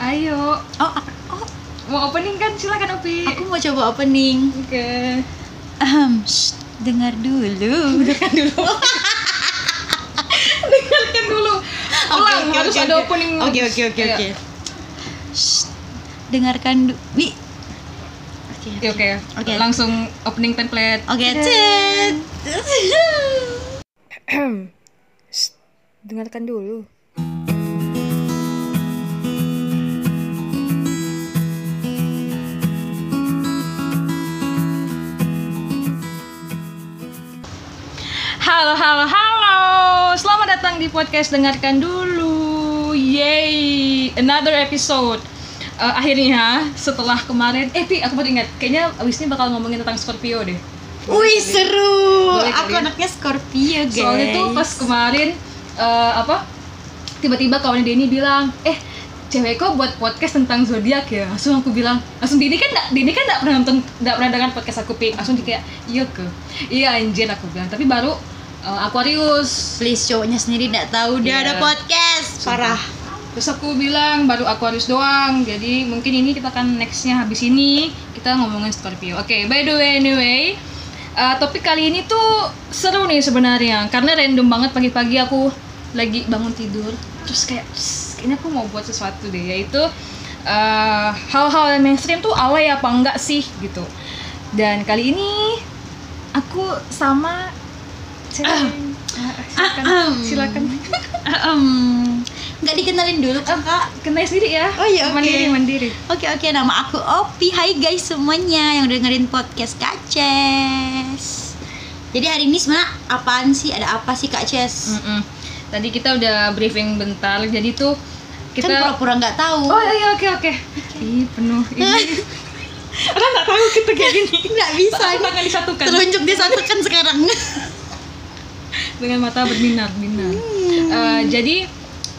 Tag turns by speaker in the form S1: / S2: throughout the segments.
S1: Ayo,
S2: Oh, a- oh,
S1: mau opening kan? Silakan Opi.
S2: aku mau coba opening.
S1: Oke.
S2: Ahem, shh, dengar dulu. Dengar dulu.
S1: Dengarkan dulu. Ulang, harus ada opening.
S2: Oke, oke, oke,
S1: Ayo.
S2: oke. Shh, dengarkan dulu. Bi. Oke.
S1: Ya, Oke,
S2: Oke.
S1: langsung opening template.
S2: Oke,
S1: Dadah.
S2: cet.
S3: Dengarkan dulu.
S1: Halo, halo, halo. Selamat datang di podcast Dengarkan Dulu. Yay, another episode. Eh, akhirnya setelah kemarin, eh Pi, aku baru ingat, kayaknya abis ini bakal ngomongin tentang Scorpio deh.
S2: Wih, seru.
S1: Boleh
S2: Aku
S1: kali ya?
S2: anaknya Scorpio, guys.
S1: Soalnya tuh pas kemarin eh, apa tiba-tiba kawan Denny bilang, "Eh, cewek kok buat podcast tentang zodiak ya?" Langsung aku bilang, langsung Denny kan gak, Denny kan gak pernah nonton gak pernah dengar podcast aku Pi. Langsung dia kayak, "Iya ke." Iya anjir aku bilang, tapi baru eh, Aquarius.
S2: please cowoknya sendiri nggak tahu dia
S1: Iya.
S2: ada podcast. Parah.
S1: Terus aku bilang baru Aquarius doang. Jadi mungkin ini kita akan nextnya habis ini kita ngomongin Scorpio. Oke, by the way anyway, eh, topik kali ini tuh seru nih sebenarnya karena random banget pagi-pagi aku lagi bangun tidur terus kayak "Psst, kayaknya aku mau buat sesuatu deh yaitu eh, hal-hal yang mainstream tuh alay apa enggak sih gitu. Dan kali ini aku sama
S2: Ah,
S1: Ah, silakan silakan
S2: Em, nggak dikenalin dulu kakak.
S1: kenalin sendiri ya.
S2: Oh iya, oke.
S1: Mandiri, mandiri.
S2: Oke oke nama aku Opi. Hai guys semuanya yang dengerin podcast Kak Ces. Jadi hari ini sebenarnya apaan sih? Ada apa sih Kak Ces?
S1: Mm-mm. Tadi kita udah briefing bentar, jadi tuh kita.
S2: Kan pura-pura nggak tahu.
S1: Oh iya oke oke. Ih penuh ini. Orang nggak tahu kita kayak gini.
S2: Nggak bisa.
S1: Tangan disatukan
S2: Telunjuk disatukan sekarang.
S1: dengan mata berbinar binar.
S2: Hmm.
S1: Eh, jadi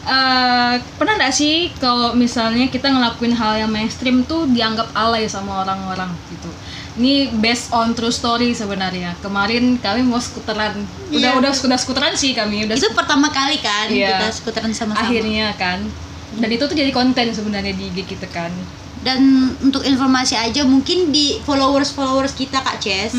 S1: eh, pernah nggak sih kalau misalnya kita ngelakuin hal yang mainstream tuh dianggap alay sama orang-orang gitu. Ini based on true story sebenarnya. Kemarin kami mau skuteran. Udah
S2: Iya.
S1: udah udah skuteran sih kami. Udah
S2: Itu pertama kali kan
S1: Iya.
S2: kita skuteran sama-sama.
S1: akhirnya kan dan itu tuh jadi konten sebenarnya di IG kita kan
S2: Dan untuk informasi aja mungkin di followers-followers kita Kak Ces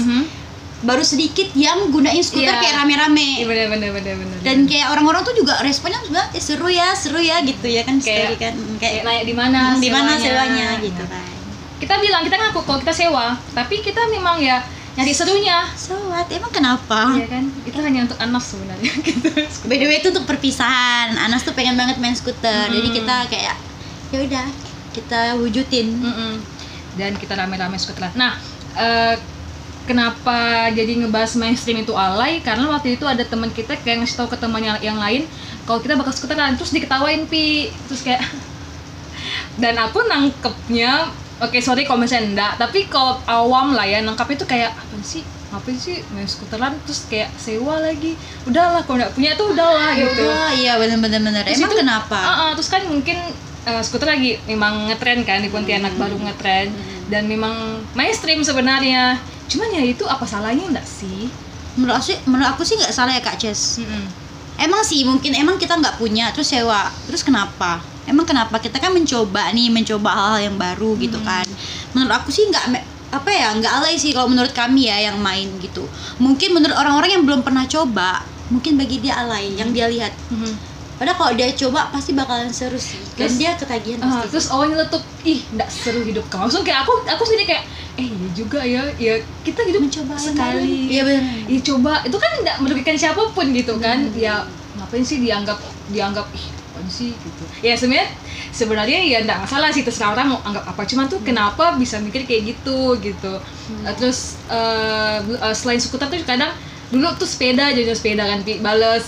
S2: baru sedikit yang gunain
S1: Mhm.
S2: skuter
S1: Iya.
S2: kayak rame-rame.
S1: iya bener bener bener bener
S2: dan kayak orang-orang tuh juga responnya sebenarnya "Eh, seru ya seru ya gitu ya kan
S1: Kayak-
S2: story kan Mm, kayak
S1: kayak nanya di mana
S2: "Hmm, di mana
S1: sewanya?"
S2: sewanya gitu kan
S1: kita bilang kita ngaku kalau kita sewa tapi kita memang ya nyari serunya
S2: so what emang kenapa
S1: Iya kan itu hanya untuk anak sebenarnya gitu
S2: by the way itu untuk perpisahan Anas tuh pengen banget main skuter jadi
S1: Mm.
S2: kita kayak ya udah kita wujudin
S1: Mm-mm. dan kita rame-rame skuteran nah eh, kenapa jadi ngebahas mainstream itu alay karena waktu itu ada teman kita kayak ngasih tau ke teman yang, yang lain kalau kita bakal skuteran terus diketawain pi terus kayak dan aku nangkepnya oke sorry kalau misalnya enggak tapi kalau awam lah ya nangkepnya tuh kayak apa sih ngapain sih main skuteran terus kayak sewa lagi udahlah kalau nggak punya tuh udahlah
S2: Ya
S1: gitu
S2: udah, iya bener-bener bener.
S1: Terus
S2: emang
S1: itu-
S2: kenapa
S1: Ah, ah, terus kan mungkin eh, skuter lagi memang ngetren kan di Pontianak baru ngetren dan memang mainstream sebenarnya. Cuman ya itu apa salahnya enggak sih?
S2: menurut aku sih menurut aku sih nggak salah ya kak Jess emang sih mungkin emang kita nggak punya terus sewa terus kenapa emang kenapa kita kan mencoba nih mencoba hal-hal yang baru gitu
S1: Hmm.
S2: kan menurut aku sih nggak me- apa ya nggak alay sih kalau menurut kami ya yang main gitu mungkin menurut orang-orang yang belum pernah coba mungkin bagi dia alay yang dia lihat
S1: Mhm.
S2: padahal kalau dia coba pasti bakalan seru sih dan
S1: Terus-
S2: dia ketagihan
S1: Ah,
S2: pasti
S1: terus awalnya letup, ih enggak seru hidup kamu. Langsung kayak aku aku sendiri kayak eh iya juga ya, ya kita hidup
S2: mencoba yang
S1: sekali.
S2: baru. iya benar
S1: ya coba itu kan tidak merugikan siapapun gitu kan
S2: Hmm.
S1: ya ngapain sih dianggap dianggap ih apaan sih gitu ya sebenarnya sebenarnya ya enggak masalah sih terserah orang mau anggap apa cuman
S2: Hmm.
S1: tuh kenapa bisa mikir kayak gitu gitu Eh, terus eh, bu- eh, selain skuter tuh kadang dulu tuh sepeda jadi sepeda kan Pi. bales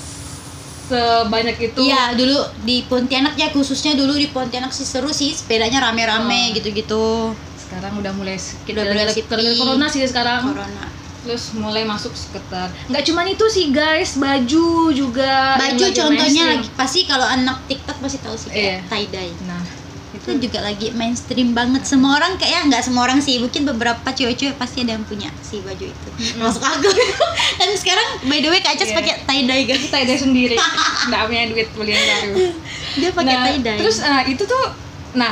S1: sebanyak itu
S2: Iya dulu di Pontianak ya khususnya dulu di Pontianak sih seru sih sepedanya
S1: Hmm.
S2: rame-rame gitu-gitu
S1: sekarang udah mulai kita
S2: Udah mulai sepi.
S1: corona sih sekarang
S2: corona
S1: terus mulai masuk skuter nggak cuman itu sih guys baju juga yang
S2: baju
S1: lagi
S2: contohnya
S1: mainstream.
S2: lagi pasti kalau anak TikTok pasti tahu sih kayak
S1: Iya.
S2: tie dye
S1: nah
S2: itu juga lagi mainstream banget semua orang kayak nggak semua orang sih mungkin beberapa cewek-cewek pasti ada yang punya si baju itu masuk aku dan sekarang by the way kak Acas
S1: Iya.
S2: pakai tie dye guys
S1: tie dye sendiri nggak punya duit beli yang baru
S2: dia pakai
S1: Nah,
S2: tie dye
S1: terus eh, itu tuh Nah,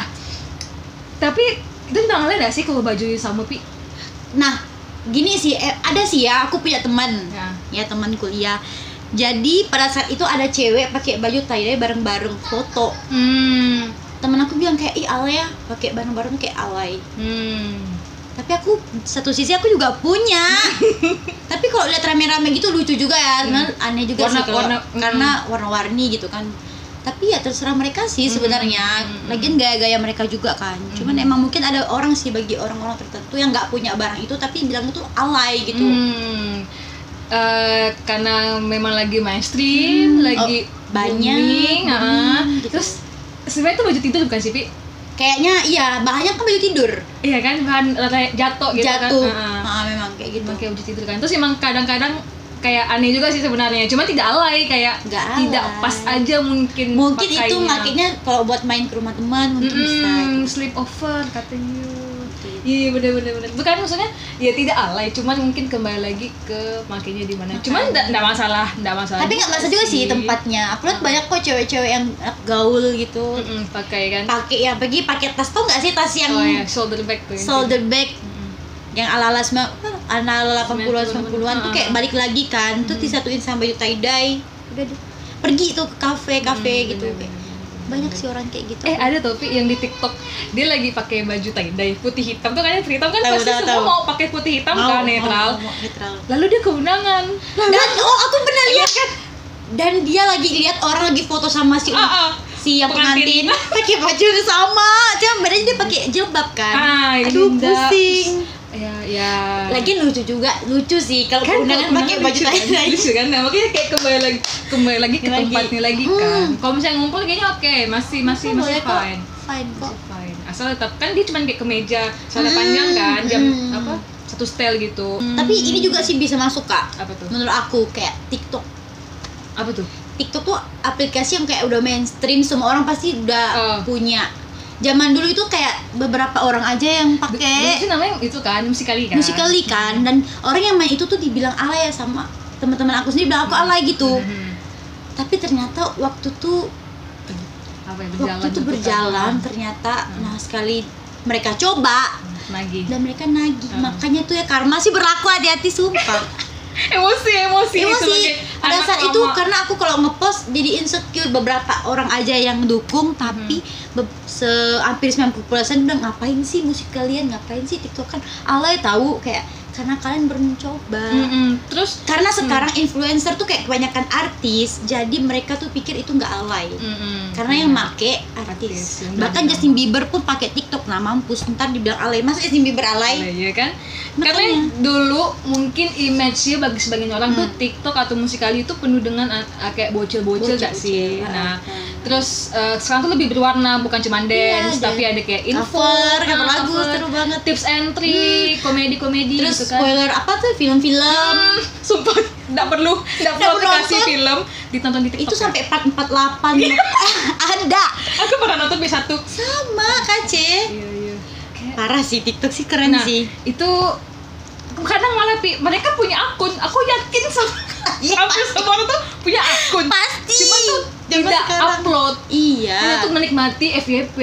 S1: tapi kita juga ngeliat gak sih kalau baju sama Pi?
S2: Nah, gini sih, eh, ada sih ya, aku punya teman.
S1: Ya.
S2: Ya, teman kuliah. Jadi pada saat itu ada cewek pakai baju tie-dye bareng-bareng foto.
S1: Hmm.
S2: Temen aku bilang kayak, ih alay ya, pakai bareng-bareng kayak alay.
S1: Hmm.
S2: Tapi aku, satu sisi aku juga punya. Tapi kalau lihat rame-rame gitu lucu juga ya, karena aneh juga
S1: Hmm. Warna-
S2: sih kalau-
S1: warna- hmm.
S2: karena warna-warni gitu kan. Tapi ya terserah mereka sih
S1: Mm,
S2: sebenarnya.
S1: mm, mm.
S2: Lagian gaya-gaya mereka juga kan.
S1: Hmm.
S2: Cuman emang mungkin ada orang sih bagi orang-orang tertentu yang nggak punya barang itu tapi bilang itu alay gitu.
S1: Hmm. Eh, karena memang lagi mainstream, lagi
S2: oh, banyak.
S1: booming, ah.
S2: Hmm, gitu.
S1: Terus sebenarnya itu baju tidur bukan sih, Pi?
S2: Kayaknya iya, bahannya kan baju tidur.
S1: Iya kan, bahan rata- jatuh gitu
S2: Jatuh.
S1: kan. Ah, ah.
S2: Ah, memang kayak gitu.
S1: Pakai baju tidur kan. Terus emang kadang-kadang kayak aneh juga sih sebenarnya. Cuma tidak alay kayak
S2: Nggak
S1: tidak
S2: alay.
S1: pas aja mungkin
S2: Mungkin itu
S1: pakainya.
S2: makanya kalau buat main ke rumah teman mungkin bisa.
S1: Mm, sleepover katanya.
S2: Gitu.
S1: Iya bener bener bener. Bukan maksudnya ya tidak alay, cuman mungkin kembali lagi ke makainya di mana. Cuman enggak masalah, enggak masalah.
S2: Tapi nggak masalah juga sih tempatnya. Aku lihat banyak kok cewek-cewek yang gaul gitu.
S1: Mm-mm, pakai kan.
S2: Pakai yang pergi pakai tas tau nggak sih tas yang
S1: Oh ya, shoulder bag tuh. yang- gitu.
S2: shoulder bag
S1: Mm-mm.
S2: yang ala-ala sembilan ala 80-an 90-an tuh
S1: Ah. Hmm.
S2: kayak balik lagi kan. Tuh disatuin sama baju tie-dye. Udah deh. Pergi tuh ke kafe-kafe
S1: Mm,
S2: gitu.
S1: bener,
S2: Kayak
S1: bener, bener.
S2: Banyak sih orang kayak gitu.
S1: Eh ada topi yang di TikTok dia lagi pakai baju tie dye putih hitam tuh kayaknya putih hitam kan
S2: Tahu,
S1: pasti
S2: tahu,
S1: semua
S2: tahu.
S1: mau pakai putih hitam kan netral.
S2: mau, mau, netral.
S1: Lalu dia keundangan.
S2: Dan oh aku pernah
S1: Iya.
S2: lihat kan. Dan dia lagi lihat orang lagi foto sama si
S1: Ah, ah.
S2: si yang
S1: Pengantin.
S2: pengantin, pakai baju yang sama. Cuman badannya dia pakai jilbab kan.
S1: Ah, ini
S2: Aduh
S1: Dinda.
S2: pusing.
S1: Ya ya.
S2: Lagi lucu juga, lucu sih kalau
S1: kan
S2: keundangan
S1: kalau
S2: pakai
S1: undangan
S2: baju
S1: lucu kan,
S2: tie-dye.
S1: lucu kan nah, makanya kayak kembali lagi kembali lagi ke
S2: Lagi.
S1: tempatnya lagi kan kalau misalnya ngumpul kayaknya oke masih masih
S2: Kan
S1: masih
S2: boleh kok.
S1: fine
S2: Fine kok.
S1: fine asal tetap kan dia cuma kayak kemeja soalnya
S2: Hmm,
S1: panjang kan jam
S2: hmm.
S1: apa satu style gitu
S2: Tapi ini juga sih bisa masuk kak.
S1: apa tuh
S2: Menurut aku kayak TikTok.
S1: apa tuh
S2: TikTok tuh aplikasi yang kayak udah mainstream, semua orang pasti udah
S1: Oh.
S2: punya. Zaman dulu itu kayak beberapa orang aja yang
S1: Du- dulu
S2: pakai
S1: sih namanya itu kan musikali kan
S2: musikali kan dan orang yang main itu tuh dibilang alay ya sama teman-teman aku sendiri bilang aku alay gitu.
S1: Mhm.
S2: Tapi ternyata waktu tuh
S1: apa ya berjalan Hmm.
S2: waktu tuh
S1: gitu kan.
S2: berjalan ternyata nah sekali mereka coba
S1: Hmm, lagi
S2: dan mereka nagih.
S1: Hmm.
S2: Makanya tuh ya karma sih berlaku hati-hati sumpah.
S1: emosi emosi Iya, sebagai
S2: emosi pada
S1: anak
S2: saat itu
S1: lama.
S2: karena aku kalau ngepost jadi insecure beberapa orang aja yang dukung tapi
S1: Hmm.
S2: be- se hampir 90% bilang ngapain sih musik kalian ngapain sih tiktok kan alay tahu kayak karena kalian belum coba
S1: Mhm. terus
S2: karena sekarang influencer tuh kayak kebanyakan artis jadi mereka tuh pikir itu nggak alay
S1: mhm.
S2: karena yang make artis,
S1: Artis, yang
S2: bahkan
S1: berani.
S2: Justin Bieber pun pakai TikTok nah mampus ntar dibilang alay masa Justin Bieber alay
S1: Iya kan?
S2: Makanya.
S1: Karena dulu mungkin image-nya bagi sebagian orang tuh
S2: Hmm.
S1: TikTok atau musikali itu penuh dengan ah, ah, kayak bocil-bocil gak sih?
S2: Bocil-bocil,
S1: Nah,
S2: ah.
S1: terus eh, sekarang tuh lebih berwarna bukan cuma
S2: Iya,
S1: dance
S2: ada
S1: tapi ada kayak info,
S2: cover
S1: ah,
S2: cover lagu
S1: cover,
S2: seru banget Hmm.
S1: tips and trick, komedi-komedi
S2: Terus
S1: gitu kan.
S2: spoiler apa tuh film-film
S1: Hmm, sumpah nggak perlu nggak perlu
S2: perlu
S1: dikasih
S2: nonton.
S1: film ditonton di TikTok.
S2: itu sampai
S1: Iya.
S2: 448 ada
S1: Aku pernah nonton di satu.
S2: sama kace
S1: Iya, iya. Kayak-
S2: parah sih TikTok sih keren
S1: Nah,
S2: sih
S1: itu kadang malah Pi, mereka punya akun. Aku yakin sama
S2: Iya,
S1: hampir semua orang tuh punya akun.
S2: pasti
S1: Cuma tuh
S2: Zaman
S1: tidak
S2: sekarang.
S1: upload.
S2: iya
S1: Hanya tuh nah. menikmati FYP.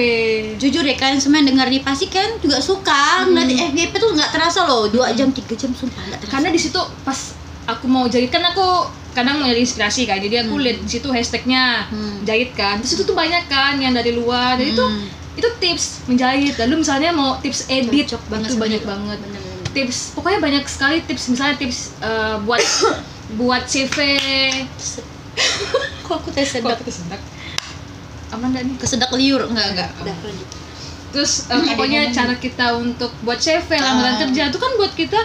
S2: jujur deh kalian semua yang dengar nih pasti kan juga suka
S1: Hmm.
S2: ngeliat FYP tuh nggak terasa loh dua jam tiga jam sumpah nggak terasa
S1: Karena di situ pas aku mau jahit kan aku kadang nyari inspirasi kan. Jadi aku lihat di situ hashtagnya
S2: Hmm.
S1: jahit kan. Terus itu tuh banyak kan yang dari luar. Jadi itu
S2: Hmm.
S1: itu tips menjahit. Lalu misalnya mau tips edit
S2: Cocok banget
S1: itu
S2: sama
S1: banyak
S2: dia.
S1: banget.
S2: Bener-bener.
S1: Tips pokoknya banyak sekali tips misalnya tips eh, buat buat CV.
S2: kok aku teh
S1: Kok
S2: sedak
S1: aku kesendak? Aman gak nih?
S2: kesedak liur enggak enggak
S1: Enggak.
S2: udah lanjut
S1: terus eh,
S2: Hmm, ada yang
S1: pokoknya
S2: ngomong.
S1: cara kita untuk buat CV lamaran
S2: Ah.
S1: kerja itu kan buat kita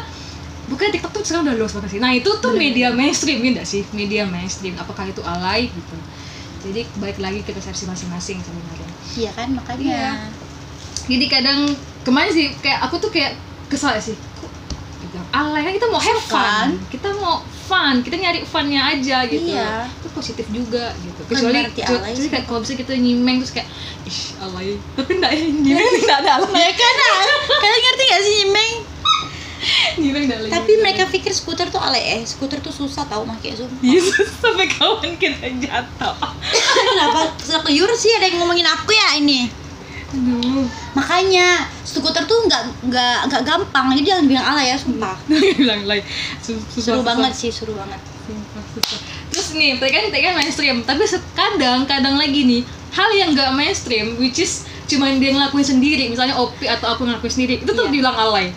S1: bukan TikTok tuh sekarang udah luas banget sih nah itu
S2: Iya,
S1: tuh media mainstream ya nggak sih media mainstream apakah itu alay gitu jadi balik lagi ke persepsi masing-masing sebenarnya
S2: iya kan makanya
S1: Iya. jadi kadang kemarin sih kayak aku tuh kayak kesal ya sih kok dibilang alay kan kita mau have fun
S2: Fun.
S1: kita mau fun kita nyari funnya aja gitu
S2: Iya.
S1: itu positif juga gitu
S2: Bukan
S1: kecuali
S2: berarti alay
S1: kecuali
S2: sih.
S1: kayak kalau misalnya kita nyimeng terus kayak ih alay tapi enggak ya nyimeng enggak ada alay
S2: ya kan Al? kalian ngerti gak sih Meng
S1: Nyimeng enggak alay
S2: tapi mereka pikir skuter tuh alay eh skuter tuh susah tau pakai zoom
S1: Yesus Iya, sampai kawan kita jatuh
S2: Kenapa? Terus aku liur sih ada yang ngomongin aku ya ini
S1: Aduh.
S2: makanya skuter tuh nggak nggak nggak gampang jadi jangan bilang ala ya sumpah
S1: bilang lain Su- susah,
S2: seru
S1: susah.
S2: banget sih seru banget
S1: Sumpah, susah. terus nih tadi kan tadi kan mainstream tapi kadang kadang lagi nih hal yang nggak mainstream which is cuman dia ngelakuin sendiri misalnya OP atau aku ngelakuin sendiri itu tuh
S2: Iya.
S1: dibilang alay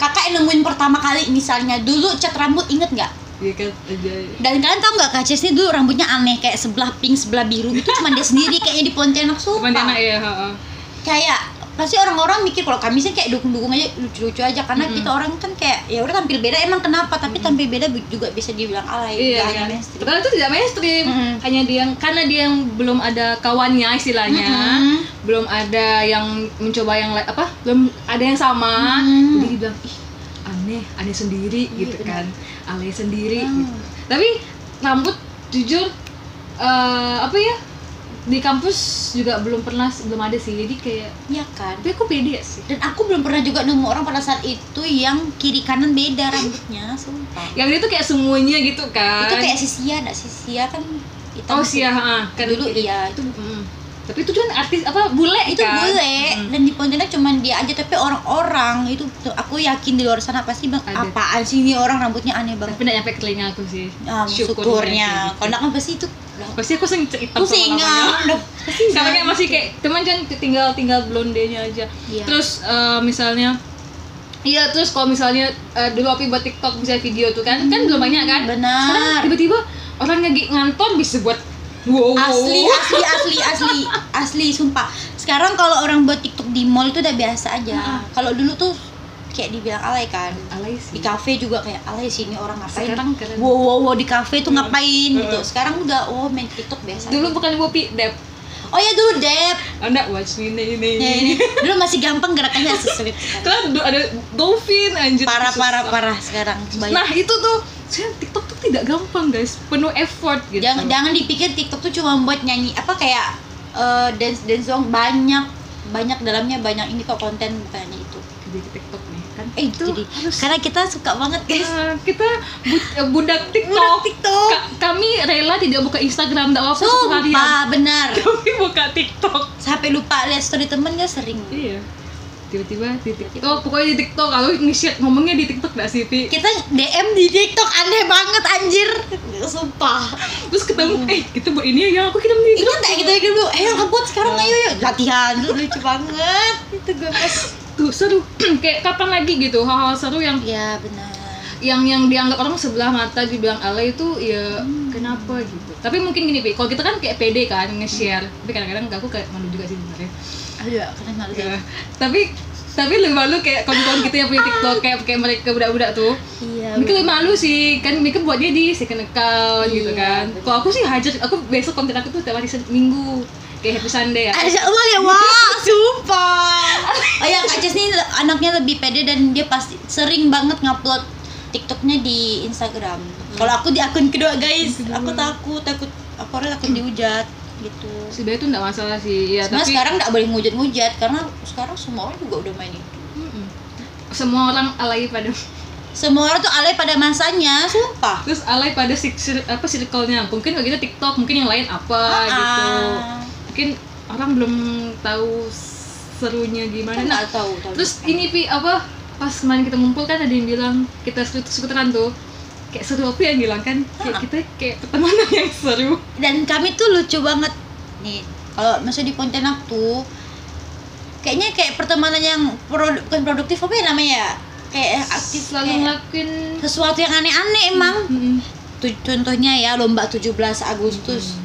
S2: kakak yang nemuin pertama kali misalnya dulu cat rambut inget nggak
S1: iya kan aja
S2: dan kalian tau nggak kak Ces ini dulu rambutnya aneh kayak sebelah pink sebelah biru itu cuma dia sendiri kayaknya di Pontianak sumpah
S1: Pontianak ya ha-ha.
S2: kayak pasti orang-orang mikir kalau kami sih kayak dukung-dukung aja lucu-lucu aja karena
S1: Mm-mm.
S2: kita orang kan kayak ya udah tampil beda emang kenapa tapi tampil beda bu- juga bisa dibilang
S1: iya
S2: alay nggak
S1: kan
S2: hanya mainstream.
S1: padahal itu tidak mainstream
S2: Mm-mm.
S1: hanya dia yang karena dia yang belum ada kawannya istilahnya
S2: Mm-mm.
S1: belum ada yang mencoba yang la- apa belum ada yang sama
S2: Mm.
S1: jadi dibilang ih aneh aneh sendiri
S2: Iya,
S1: gitu
S2: benar.
S1: kan aneh sendiri
S2: Hmm.
S1: gitu. tapi rambut jujur eh, apa ya di kampus juga belum pernah belum ada sih jadi kayak
S2: Iya kan
S1: tapi aku beda sih
S2: dan aku belum pernah juga nemu orang pada saat itu yang kiri kanan beda rambutnya sumpah
S1: yang dia tuh kayak semuanya gitu kan
S2: itu kayak sisia nggak sisia kan hitam
S1: oh sih ya
S2: kan
S1: kan
S2: dulu iya itu
S1: Mm. tapi itu kan artis apa bule
S2: itu
S1: kan?
S2: bule
S1: Mm.
S2: dan di Pontianak cuman dia aja tapi orang-orang itu tuh, aku yakin di luar sana pasti bang
S1: Ada.
S2: apaan sih ini orang rambutnya aneh
S1: tapi
S2: banget
S1: nggak nyampe ke telinga aku sih
S2: Ah,
S1: gitu.
S2: syukurnya kalau nggak kan pasti itu
S1: pasti aku sering hitam
S2: aku sih
S1: lama-lamanya.
S2: ingat
S1: Karena kayak masih kayak teman cuman tinggal tinggal blondenya aja.
S2: Iya.
S1: Terus eh, misalnya Iya terus kalau misalnya eh, dulu aku buat TikTok misalnya video tuh kan kan belum banyak kan.
S2: Mm, benar.
S1: Sekarang tiba-tiba orang lagi ngantor bisa buat wow wow.
S2: asli asli asli asli asli sumpah sekarang kalau orang buat TikTok di mall itu udah biasa aja kalau dulu tuh kayak dibilang alay kan
S1: Alay sih.
S2: di kafe juga kayak alay sini orang ngapain
S1: Sekarang keren.
S2: wow wow wow di kafe tuh ngapain gitu
S1: Heeh.
S2: sekarang udah oh main TikTok biasa
S1: Dulu bukan Wopi Dep.
S2: oh ya dulu Dep
S1: Anda watch me ini ini.
S2: Ya, ini. dulu masih gampang gerakannya sesulit
S1: Kan du- ada dolphin anjir.
S2: parah
S1: Susah.
S2: parah parah sekarang Banyak.
S1: Nah, itu tuh saya TikTok tuh tidak gampang, guys. Penuh effort gitu.
S2: jangan jangan dipikir TikTok tuh cuma buat nyanyi apa kayak eh, dance dance song banyak banyak dalamnya banyak ini kok konten bukannya itu
S1: Jadi TikTok nih kan.
S2: eh itu
S1: Jadi harus-
S2: karena kita suka banget guys
S1: Eh, kita bu- eh, budak
S2: Budak
S1: TikTok.
S2: TikTok
S1: Ka- kami rela tidak buka Instagram tidak apa-apa seharian.
S2: sumpah benar
S1: Kami buka TikTok.
S2: sampai lupa lihat story temennya sering
S1: Iya. Tiba-tiba di TikTok. Oh, pokoknya di TikTok. Kalau nge-share ngomongnya di TikTok gak sih, Pi?
S2: kita DM di TikTok aneh banget anjir sumpah
S1: Terus ketemu, eh kita buat ini ya, aku kirim di
S2: ingat gak kita gitu dulu eh robot sekarang ayo yuk latihan Lu lucu banget itu gue pas
S1: Tuh, seru. Kayak kapan lagi gitu, hal-hal seru yang
S2: ya benar
S1: yang yang dianggap orang sebelah mata dibilang alay itu ya
S2: Hmm.
S1: kenapa gitu tapi mungkin gini Pi, kalau kita kan kayak pede kan nge-share tapi kadang-kadang aku kayak malu juga sih sebenarnya
S2: ayo keren banget
S1: Ya. tapi tapi lebih malu kayak kawan-kawan kita yang punya TikTok kayak kayak mereka budak-budak tuh
S2: iya
S1: mereka lebih malu sih kan mereka buatnya di second account gitu
S2: Iya,
S1: kan
S2: betul.
S1: kalau aku sih hajar aku besok konten aku tuh tiap hari minggu kayak happy Sunday ya
S2: Ada Allah ya, wah, sumpah. Oh ya, Kak Ces ini le- anaknya lebih pede dan dia pasti sering banget ngupload TikToknya di Instagram. Kalau aku di akun kedua guys,
S1: Hmm. Akun kedua.
S2: aku takut, takut apa orang takut dihujat gitu.
S1: sebenarnya tuh nggak masalah sih ya
S2: Sebenarnya
S1: tapi
S2: sekarang nggak boleh ngujat-ngujat karena sekarang semua orang juga udah main itu.
S1: Mm-mm. semua orang alay pada
S2: Semua orang tuh alay pada masanya, sumpah.
S1: terus alay pada sik- sir- apa circle-nya mungkin kalau kita TikTok mungkin yang lain apa gitu
S2: Ah,
S1: mungkin orang belum tahu serunya gimana
S2: kan
S1: nah
S2: nggak tahu. tahu
S1: terus
S2: depan.
S1: ini pi apa pas kemarin kita ngumpul kan ada yang bilang kita sekut- sekuteran tuh kayak seru apa yang bilang kan kayak
S2: Ah.
S1: kita kayak pertemanan yang seru
S2: dan kami tuh lucu banget nih kalau maksudnya di Pontianak tuh kayaknya kayak pertemanan yang produ- bukan produktif apa ya namanya ya? kayak aktif
S1: selalu
S2: kayak
S1: ngelakuin
S2: sesuatu yang aneh-aneh emang
S1: Mm-mm.
S2: Tuh, contohnya ya lomba 17 Agustus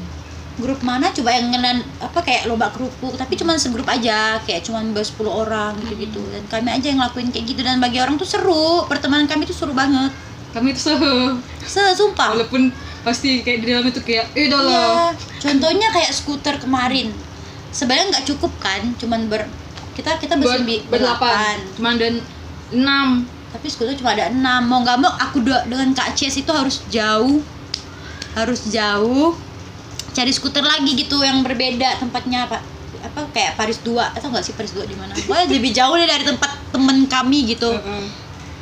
S2: grup mana coba yang ngelan apa kayak lomba kerupuk tapi cuman segrup aja kayak cuman bawa 10 orang gitu-gitu dan kami aja yang ngelakuin kayak gitu dan bagi orang tuh seru pertemanan kami tuh seru banget
S1: kami itu seru
S2: sesumpah
S1: walaupun pasti kayak di dalam itu kayak eh udah
S2: Iya.
S1: lah
S2: Contohnya kayak skuter kemarin. Sebenarnya nggak cukup kan, cuman ber kita kita
S1: ber,
S2: bersembi-
S1: berdelapan cuman dan enam
S2: Tapi skuter cuma ada enam. Mau nggak mau aku do- dengan Kak Cies itu harus jauh, harus jauh cari skuter lagi gitu yang berbeda tempatnya pak apa kayak Paris 2 atau nggak sih Paris 2 di mana? Wah lebih jauh deh dari tempat temen kami gitu.
S1: Heeh.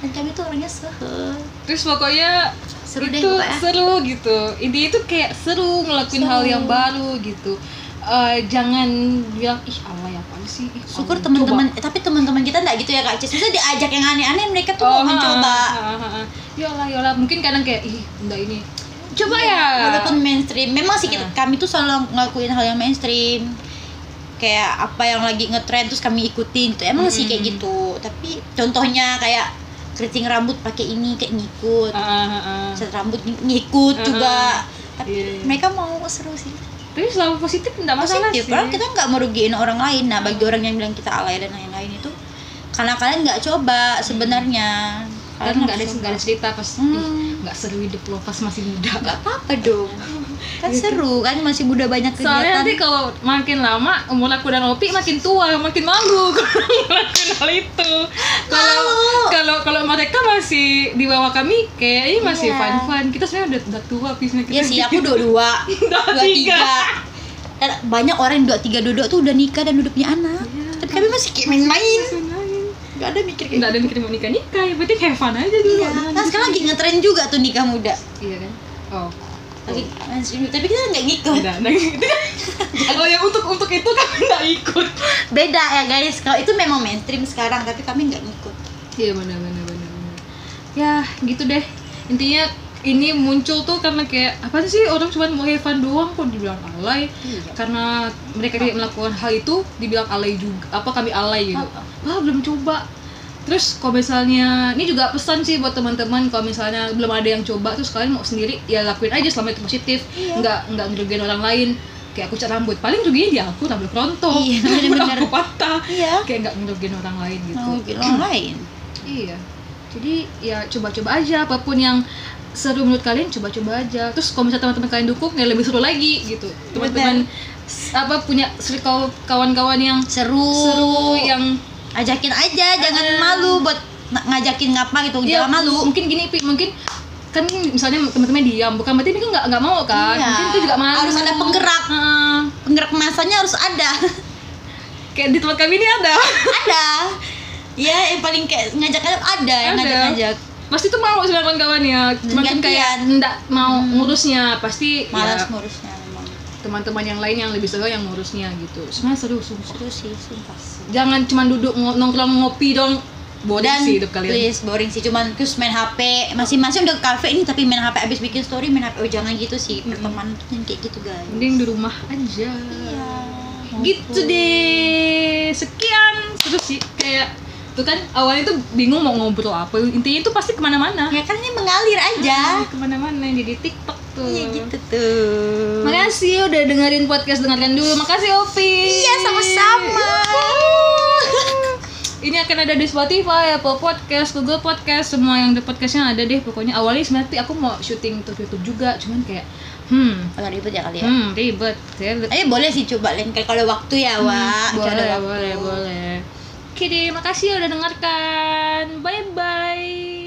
S2: Dan kami tuh orangnya sehe.
S1: terus pokoknya
S2: Seru deh
S1: itu
S2: pokoknya.
S1: seru gitu ini itu kayak seru ngelakuin
S2: Seru.
S1: hal yang baru gitu eh, jangan bilang ih Allah ya apaan sih ih,
S2: syukur
S1: Allah."
S2: teman-teman eh, tapi teman-teman kita enggak gitu ya Kak Cis. Maksudnya diajak yang aneh-aneh mereka tuh
S1: Coba.
S2: mau mencoba.
S1: Oh, ha, ha, Ya ha. yolah yolah mungkin kadang kayak ih enggak ini coba ya Nah.
S2: Walaupun mainstream, memang sih kita- kami tuh selalu ngelakuin hal yang mainstream. Kayak apa yang lagi ngetrend terus kami ikutin gitu. Emang sih
S1: Hmm.
S2: kayak gitu. Tapi contohnya kayak keriting rambut pakai ini kayak ngikut.
S1: Ah, ah, ah, ah.
S2: Set rambut ng- ngikut
S1: Ah,
S2: juga. Tapi
S1: Iya, iya.
S2: mereka mau seru sih.
S1: tapi selama positif enggak masalah
S2: positif
S1: sih Hmm.
S2: kan kita nggak merugiin orang lain nah bagi orang yang bilang kita alay dan lain-lain itu karena kalian nggak coba sebenarnya
S1: kan nggak ada nggak ada cerita pas
S2: Hmm.
S1: ih, nggak seru hidup lo pas masih muda
S2: nggak apa-apa dong kan seru kan masih muda banyak
S1: Soalnya
S2: kegiatan
S1: nanti kalau makin lama umur aku dan Opi makin tua, makin malu kalau ngelakuin hal itu. Kalau
S2: Malu.
S1: kalau kalau mereka masih di bawah kami kayaknya masih
S2: Iya.
S1: fun fun. Kita sebenarnya udah, udah tua pisnya kita.
S2: ya sih aku dua dua dua tiga dan banyak orang yang dua tiga dua dua tuh udah nikah dan udah punya anak
S1: Iya.
S2: tapi kami masih kayak main-main
S1: Sebenarnya
S2: nggak ada mikir kayak
S1: nggak ada mikir mau nikah nikah, ya berarti have fun aja dulu.
S2: Iya, kan sekarang lagi ngetren juga tuh nikah muda
S1: Iya kan? Oh.
S2: lagi mainstream, tapi kita nggak ngikut
S1: Tidak, nah, itu kan. Kalau yang untuk untuk itu kami nggak ikut.
S2: beda ya guys kalau itu memang mainstream sekarang tapi kami nggak ngikut
S1: Iya benar benar benar benar. Ya gitu deh. Intinya ini muncul tuh karena kayak apa sih orang cuma mau have fun doang kok dibilang alay
S2: Iya.
S1: karena mereka tidak melakukan hal itu dibilang alay juga apa kami alay
S2: Ah,
S1: gitu wah belum coba terus kalau misalnya ini juga pesan sih buat teman-teman kalau misalnya belum ada yang coba terus kalian mau sendiri ya lakuin aja selama itu positif
S2: Iya.
S1: nggak nggak ngerugiin orang lain kayak aku cat rambut paling ruginya di aku rambut kerontok
S2: Iya,
S1: rambut
S2: bener-bener.
S1: aku patah
S2: iya
S1: kayak nggak ngerugiin orang lain gitu
S2: mau bilang lain
S1: Iya. Jadi ya coba-coba aja apapun yang seru menurut kalian coba-coba aja. Terus kalau misalnya teman-teman kalian dukung ya lebih seru lagi gitu. Teman-teman s- apa punya circle kawan-kawan yang
S2: seru, iya.
S1: seru yang
S2: ajakin aja jangan
S1: Eh.
S2: malu buat na- ngajakin ngapa gitu
S1: ya,
S2: jangan malu
S1: Mungkin gini Pi, mungkin kan misalnya teman-teman diam bukan berarti mereka nggak nggak mau kan
S2: Iya.
S1: mungkin itu juga malu
S2: Harus ada penggerak.
S1: Heeh.
S2: penggerak masanya harus ada
S1: kayak di tempat kami ini ada
S2: ada ya yang paling kayak ngajak ngajak ada yang
S1: Ada. Iya.
S2: ngajak ngajak
S1: pasti tuh mau sebenarnya kawan-kawannya cuma kan kayak
S2: Gantian. Hmm.
S1: nggak mau ngurusnya pasti
S2: malas
S1: ya,
S2: ngurusnya memang
S1: teman-teman yang lain yang lebih seru yang ngurusnya gitu sebenarnya seru sumpah
S2: seru sih sumpah
S1: jangan cuma duduk ngo- nongkrong ngopi dong bodoh
S2: dan
S1: sih hidup kalian
S2: please boring sih cuman terus main HP masing-masing udah ke kafe ini tapi main HP abis bikin story main HP oh jangan gitu sih pertemanan tuh jangan kayak gitu guys
S1: mending di rumah aja
S2: Iya.
S1: gitu deh sekian terus sih kayak tuh kan awalnya tuh bingung mau ngobrol apa intinya itu pasti kemana-mana
S2: ya kan ini mengalir aja
S1: kemana-mana jadi tiktok tuh
S2: iya gitu tuh
S1: makasih ya udah dengerin podcast dengarkan dulu makasih Opi
S2: iya sama-sama
S1: ini akan ada di Spotify, Apple Podcast, Google Podcast, semua yang ada podcastnya ada deh. Pokoknya awalnya sebenarnya aku mau syuting untuk YouTube juga, cuman kayak hmm,
S2: agak ribet ya kali ya
S1: hmm ribet, Saya ribet.
S2: eh boleh sih coba lain kali kalau waktu ya Wak
S1: Mm, boleh,
S2: Kalau ada
S1: boleh,
S2: waktu.
S1: boleh, Oke deh, makasih ya udah dengarkan. Bye bye.